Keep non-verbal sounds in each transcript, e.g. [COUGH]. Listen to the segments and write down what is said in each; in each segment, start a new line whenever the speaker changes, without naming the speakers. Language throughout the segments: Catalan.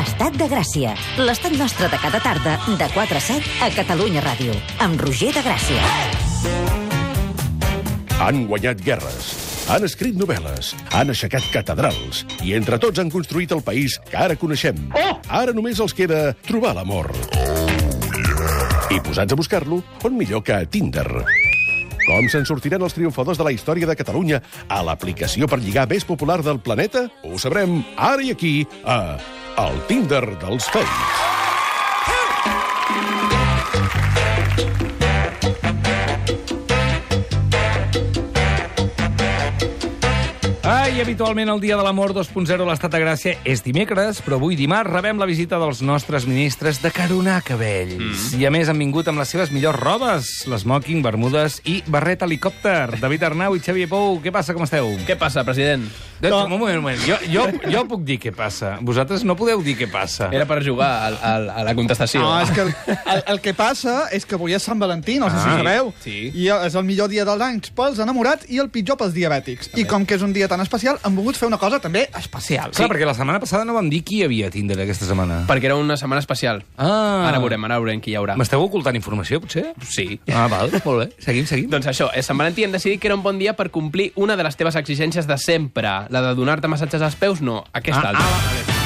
Estat de Gràcia. L'estat nostre de cada tarda, de 4 a 7, a Catalunya Ràdio. Amb Roger de Gràcia.
Han guanyat guerres, han escrit novel·les, han aixecat catedrals i entre tots han construït el país que ara coneixem. Ara només els queda trobar l'amor. I posats a buscar-lo, on millor que a Tinder. Com se'n sortiran els triomfadors de la història de Catalunya a l'aplicació per lligar més popular del planeta? Ho sabrem ara i aquí, a El Tinder dels Fakes.
Ai, habitualment el Dia de l'Amor 2.0 a l'Estat de Gràcia és dimecres, però avui dimarts rebem la visita dels nostres ministres de caronar cabells. Mm. I a més han vingut amb les seves millors robes, l'esmoking, bermudes i barret helicòpter. David Arnau i Xavier Pou, què passa, com esteu?
Què passa, president?
Doncs, no. un moment, un moment. Jo, jo, jo puc dir què passa. Vosaltres no podeu dir què passa.
Era per jugar a, a, a la contestació.
No, Ah, és que el, el, el que passa és que avui és Sant Valentí, no sé
Ah.
si sabeu,
Sí.
i és el millor dia dels anys pels enamorats i el pitjor pels diabètics. I com que és un dia tan especial, han volgut fer una cosa també especial.
Clar, perquè la setmana passada no vam dir qui hi havia a Tinder aquesta setmana.
Perquè era una setmana especial.
Ah.
Ara veurem, ara veurem qui hi haurà.
M'esteu ocultant informació, potser?
Sí.
Ah, val, molt bé. Seguim, seguim.
Doncs això, eh, Sant Valentí hem decidit que era un bon dia per complir una de les teves exigències de sempre. La de donar-te massatges als peus, no. Aquesta
Ah,
altra.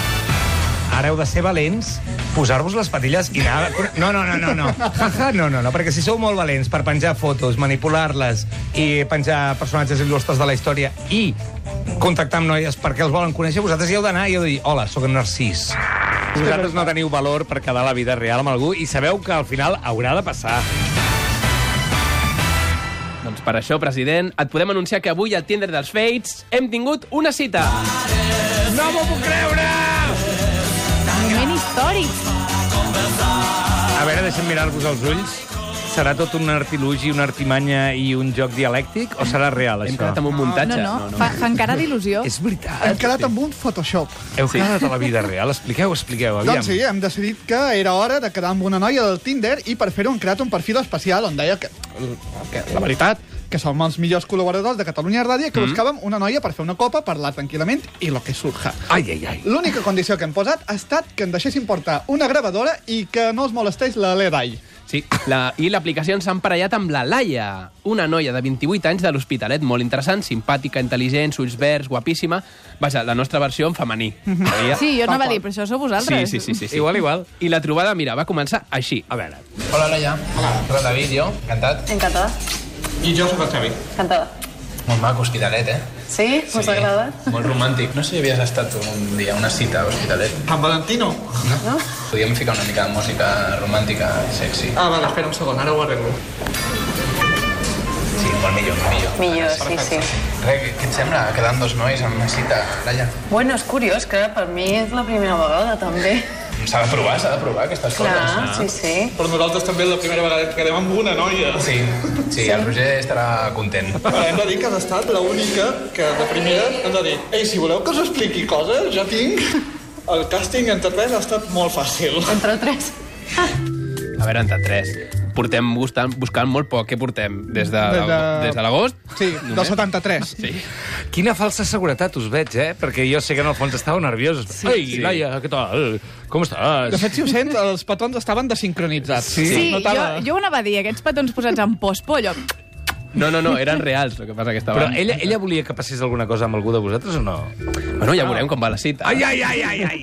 Ara heu de ser valents, posar-vos les patilles i anar... No, no, no, no, no. Ja, ja, no, no, no, perquè si sou molt valents per penjar fotos, manipular-les i penjar personatges il·lustres de la història i contactar amb noies perquè els volen conèixer, vosaltres hi heu d'anar i heu de dir hola, sóc en Narcís.
Vosaltres no teniu valor per quedar a la vida real amb algú i sabeu que al final haurà de passar.
Doncs per això, president, et podem anunciar que avui al Tinder dels Fates hem tingut una cita.
No m'ho puc creure!
Moment històric.
A veure, deixa'm mirar-vos els ulls. Serà tot un artilugi, una artimanya i un joc dialèctic o serà real,
Hem
això?
quedat amb un muntatge.
No, Ah, no, fa, fa encara d'il·lusió.
És
Hem
veritat.
quedat amb un Photoshop.
Heu quedat a la vida real? Expliqueu, expliqueu, aviam.
Doncs sí, hem decidit que era hora de quedar amb una noia del Tinder i per fer-ho hem creat un perfil especial on deia que, que la veritat, que som els millors col·laboradors de Catalunya Ràdio i
Mm.
que buscàvem una noia per fer una copa, parlar tranquil·lament i lo que surja.
Ai, ai, ai.
L'única condició que hem posat ha estat que en deixessin portar una gravadora i que no els molestés la Ledai.
Sí, la, i l'aplicació ens ha emparellat amb la Laia, una noia de 28 anys de l'Hospitalet, molt interessant, simpàtica, intel·ligent, ulls verds, guapíssima. Vaja, la nostra versió en femení. Sabia?
Sí, jo
Tal
anava a
qual.
dir, però això sou
sí,
vosaltres.
sí, sí, sí,
Mhm.
sí.
Igual, igual.
I la trobada, mira, va començar així.
A veure.
Hola, Laia. Hola. Hola, David, jo. Encantat.
Encantada,
I jo sóc el Xavi.
encantada.
Molt maco, Hospitalet, eh?
Sí? sí. Us agrada?
Molt romàntic. No sé si havies estat tu un dia a una cita a Hospitalet.
Amb Valentino?
Podíem ficar una mica de música romàntica i sexy.
Ah, vale, espera un segon, ara ho arreglo.
Sí, molt millor, molt millor.
Millor, sí, sí.
Re, què- què et sembla quedant dos nois en una cita, Laia?
Bueno, és curiós que per mi és la primera vegada, també.
S'ha de provar, s'ha de provar aquestes coses.
Clar, sí, sí.
Per nosaltres també és la primera vegada que quedem amb una noia.
Sí, sí, el Roger estarà content.
Hem de dir que has estat l'única que de primera hem de dir Ei, si voleu que us expliqui coses, ja tinc... El càsting entre tres ha estat molt fàcil.
Entre tres.
A veure, entre tres. Portem buscant, buscant molt poc. Què portem? Des de,
Des de-
des de l'agost?
Sí, del
Només?
73.
Sí.
Quina falsa seguretat us veig, eh? Perquè jo sé que en el fons estava nerviós. Sí, Ei,
sí.
Laia, què tal? Com estàs?
De fet, si ho sents, els patrons estaven desincronitzats. Sí,
Sí, jo, jo ho anava a dir, aquests petons posats en pospo, allò...
No, no, no, eren reals, el que passa que
Però
estaven...
ella, ella volia que passés alguna cosa amb algú de vosaltres o no?
Bueno, ja veurem com va la cita.
Ai, ai, ai, ai, ai!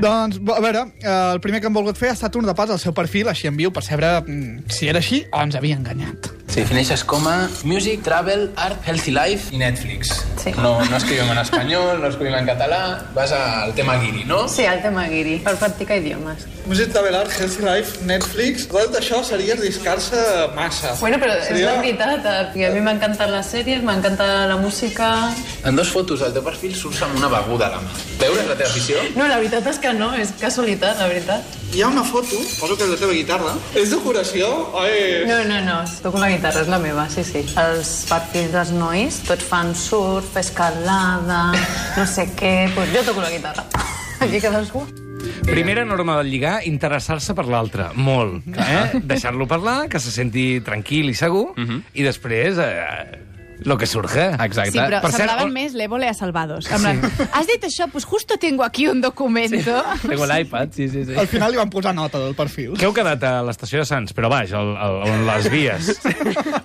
Doncs, bo- a veure, eh, el primer que hem volgut fer ha estat un repàs al seu perfil, així en viu, per saber mm, si era així o ens havia enganyat.
Sí. Defineixes com a music, travel, art, healthy life i Netflix.
Sí.
No, no escrivim en espanyol, no escrivim en català, vas al tema guiri, no?
Sí, el tema guiri, per practicar idiomes.
Music Traveler, Healthy Life, Netflix... Tot això seria arriscar-se massa.
Bueno, però és la veritat, eh, perquè a mi m'ha encantat les sèries, m'ha encantat la música...
En dos fotos al teu perfil surts amb una beguda a la mà. Veures la teva afició?
No, la veritat és que no, és casualitat, la veritat.
Hi ha una foto, poso que és la teva guitarra. És decoració? Oi...
No, no, no, toco la guitarra, és la meva, sí, sí. Els perfils dels nois, tots fan surf, escalada, no sé què... Pues jo toco la guitarra. [LAUGHS] Aquí cadascú.
Primera norma del lligar, interessar-se per l'altre, molt.
Mhm.
Eh? Deixar-lo parlar, que se senti tranquil i segur, i després eh, Lo que surja.
Exacte.
Sí, però
Per cert,
semblaven
el-
més l'Évole a Salvados. En plan, Has dit això? Pues justo tengo aquí un documento. [LAUGHS]
Tengo l'iPad, sí, sí, sí.
Al final li van posar nota del perfil.
Que heu quedat a l'estació de Sants, però vaja, al, al, on les vies.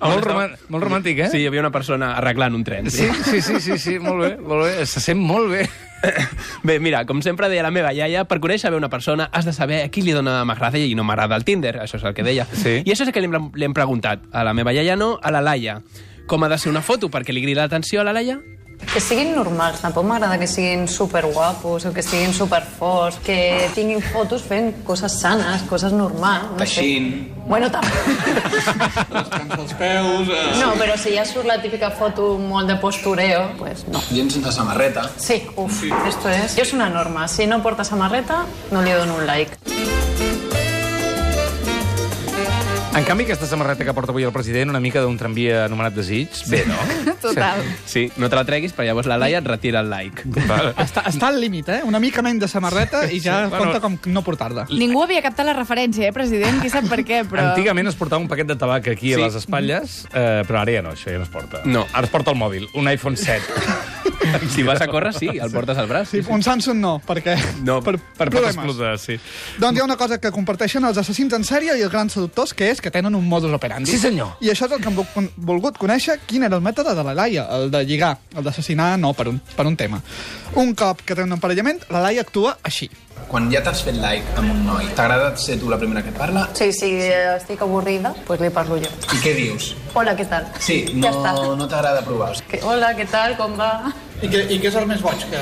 molt, roman molt romàntic, eh?
Sí, hi havia una persona arreglant un tren.
Sí, sí, sí, sí, sí, molt bé, molt bé. Se sent molt bé.
[LAUGHS] Bé, mira, com sempre deia la meva iaia, per conèixer bé una persona has de saber a qui li dona m'agrada i no m'agrada el Tinder, això és el que deia.
Sí.
I això és el que li hem, li hem preguntat. A la meva iaia no, a la Laia. Com ha de ser una foto perquè li grida l'atenció a la Laia?
Que siguin normals, tampoc m'agrada que siguin superguapos o que siguin superforts, que tinguin fotos fent coses sanes, coses normals. No sé.
Teixint.
Bueno, també.
[LAUGHS] Les cans dels peus... Eh...
No, però si ja surt la típica foto molt de postureo, pues no.
Gent sense samarreta.
Sí, uf, esto es... Jo és una norma, si no porta samarreta, no li dono un like.
En canvi, aquesta samarreta que porta avui el president, una mica d'un tramvia anomenat desig, bé, no?
Total.
Sí, no te la treguis, però llavors la Laia et retira el like. [LAUGHS]
Vale.
Està, està al límit, eh? Una mica menys de samarreta i ja sí, compta com no portar-la.
Ningú havia captat la referència, eh, president? Qui sap per què, però...
Antigament es portava un paquet de tabac aquí sí.
Sí.
a les espatlles, eh, però ara ja no, això ja no es porta.
No.
Ara es porta el mòbil, un iPhone [LAUGHS] 7.
Si vas a córrer, sí, el portes al braç.
Sí, un Samsung no, perquè...
No,
per,
per pot
problemes.
explotar, sí.
Doncs hi ha una cosa que comparteixen els assassins en sèrie i els grans seductors, que és que tenen un modus operandi.
Sí, senyor.
I això és el que hem vol- volgut conèixer, quin era el mètode de la Laia, el de lligar, el d'assassinar, no, per un, per un tema. Un cop que té un emparellament, la Laia actua així.
Quan ja t'has fet like amb un noi, t'agrada ser tu la primera que et parla?
Sí, si eh, estic avorrida, pues li parlo jo.
I què dius?
Hola, què tal?
Sí,
Ja
no,
està.
no t'agrada provar.
Que, hola, què tal, com va?
I què, I què és el més boig que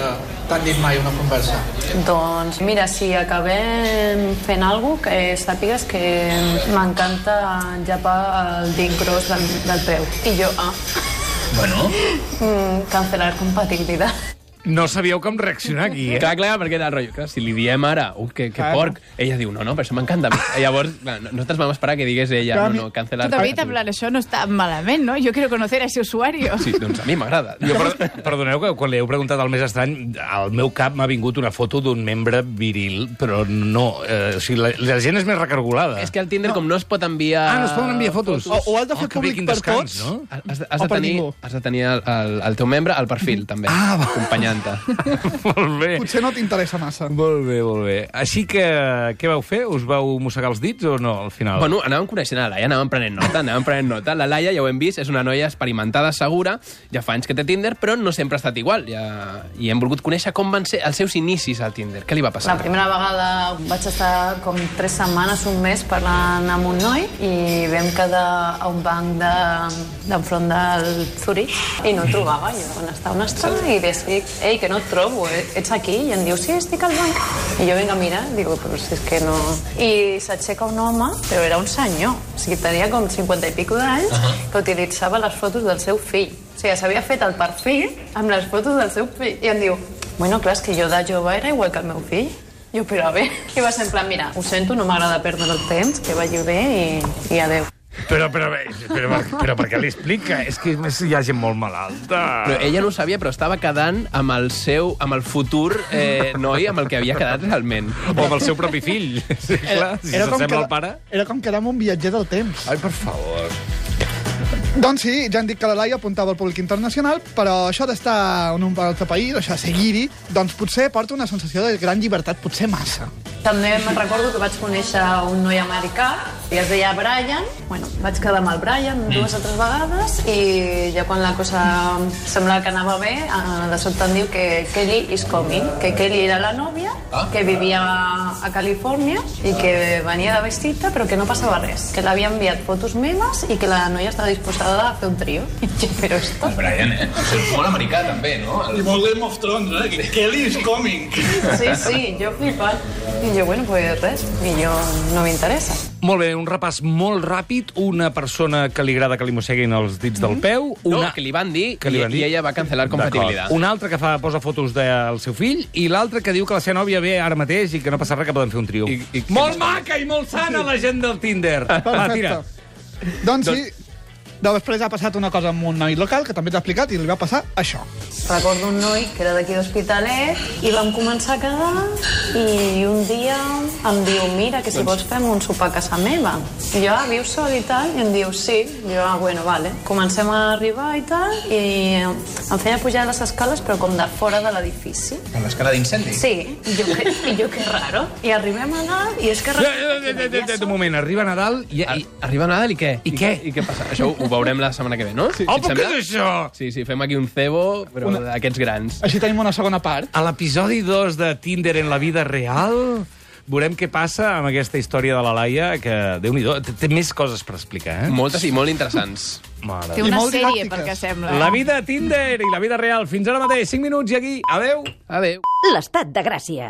t'han dit mai una conversa?
Doncs mira, si acabem fent alguna cosa, que sàpigues que m'encanta enllapar el dit gros del, del peu. I jo, ah,
Bueno,
mm, cancelar compatibilitat.
No sabíeu com reaccionar aquí, eh?
Clar, clar, perquè era el rotllo. Clar, si li diem ara, uf, que, que
Claro.
porc, ella diu, no, no, però això m'encanta. a mi. I Llavors, clar, no- nosaltres vam esperar que digués ella,
Clar,
no, no,
Tu,
cancelar.
David, en plan, això no està malament, no? Jo quiero conocer a ese usuario.
Sí, doncs a mi m'agrada.
Jo, per, perdoneu que quan li heu preguntat el més estrany, al meu cap m'ha vingut una foto d'un membre viril, però no. Eh, o sigui, la, la gent és més recargolada.
És que al Tinder, com no es pot enviar...
Ah, no es poden enviar Oh, fotos.
eh, O, o has
Oh,
de fer
que bé,
públic
quin
per
descans,
tots,
no?
Has, has, has,
O
de
per
tenir,
ningú.
has de tenir el, el, el teu membre al perfil, també,
Ah, va.
acompanyant-te.
[LAUGHS] molt bé.
Eh. potser no t'interessa massa.
Molt bé, molt bé. Així que, què vau fer? Us vau mossegar els dits o no,
Oh.
al final?
Bueno, anàvem coneixent la Laia, anàvem prenent nota, anàvem prenent nota. La Laia, ja ho hem vist, és una noia experimentada, segura, ja fa anys que té Tinder, però no sempre ha estat igual. Ja... I hem volgut conèixer com van ser els seus inicis al Tinder. Què li va
La
passar?
primera vegada vaig estar com tres setmanes, un mes, parlant amb un noi i vam quedar a un banc de- d'enfront de, del Zurich i no el trobava jo. Van estar una estona i li dic, ei, que no et trobo, eh? ets aquí? I em diu, sí, estic al banc. I jo vinc a mirar, digo, però si és que no... I s'aixeca un home, però era un senyor, o sigui, tenia com 50 i pico d'anys, que utilitzava les fotos del seu fill. O sigui, s'havia fet el perfil amb les fotos del seu fill. I em diu, bueno, clar, és que jo de jove era igual que el meu fill. Jo, però a veure, [LAUGHS] que va ser en plan, mira, ho sento, no m'agrada perdre el temps, que vagi bé i, i adeu.
Però, però, bé, però, però, però per què l'explica? És que a més, hi ha gent molt malalta.
Però
Ah.
ella no ho sabia, però estava quedant amb el seu, amb el futur eh, noi amb el que havia quedat realment.
O amb el seu propi fill. Sí, clar, si s'assembla al pare...
era com quedar amb un viatger del temps.
Ai, per favor.
Doncs sí, ja han dit que la Laia apuntava al públic internacional, però això d'estar en un altre país, això de seguir-hi, doncs potser porta una sensació de gran llibertat, potser massa.
També me'n recordo que vaig conèixer un noi americà, i es deia Brian, bueno, vaig quedar amb el Brian dues o tres vegades, i ja quan la cosa semblava que anava bé, eh, de sobte em diu que Kelly is coming, que Kelly era la nòvia, que vivia a Califòrnia i que venia de vestita, però que no passava res, que l'havia enviat fotos meves i que la noia estava disposada a fer un trio. [LAUGHS] I jo, però esto...
el Brian, eh? És molt americà, també, no? El...
molt Game of Thrones, eh? Que Kelly is coming.
Sí, sí, jo flipant. I jo, bueno, pues res, i jo no m'interessa.
Molt bé, un repàs molt ràpid. Una persona que li agrada que li mosseguin els dits del peu.
Mm-hmm. No,
Una...
que li van dir,
que li
i-
van dir.
i ella va cancel·lar compatibilitat.
D'acord. Un altre que fa, posa fotos del seu fill i l'altre que diu que la seva nòvia ve ara mateix i que no passa res, que poden fer un trio.
I- i-
molt maca i molt sana la gent del
[LAUGHS]
Tinder. Va, Ah, tira.
Doncs sí, després ha passat una cosa amb un noi local, que també t'ha explicat, i li va passar això.
Recordo un noi que era d'aquí d'Hospitalet i vam començar a quedar i un dia em diu, mira, que si vols fem un sopar a casa meva. I jo, ah, vius sol i tal? I em diu, sí. I jo, ah, bueno, vale. Comencem a arribar i tal, i em feia pujar les escales, però com de fora de l'edifici.
Amb l'escala d'incendi?
Sí, i jo, que, i jo que raro. I arribem a dalt, i és que...
Un moment, arriba Nadal i...
Ah,
i...
Arriba Nadal i què?
I què?
I què passa? Això ho- ho veurem la setmana que ve, no? Sí.
Oh, però què és això?
Sí, sí, fem aquí un cebo, però Una... aquests grans.
Així tenim una segona part.
A l'episodi 2 de Tinder en la vida real veurem què passa amb aquesta història de la Laia, que, déu-n'hi-do, té- té més coses per explicar, eh?
Moltes i molt interessants.
Mare
Té
de-
una
molt
sèrie,
didàctiques.
perquè sembla.
La vida a Tinder i la vida real. Fins ara mateix, 5 minuts i aquí. Adeu!
Adéu.
L'estat de Gràcia.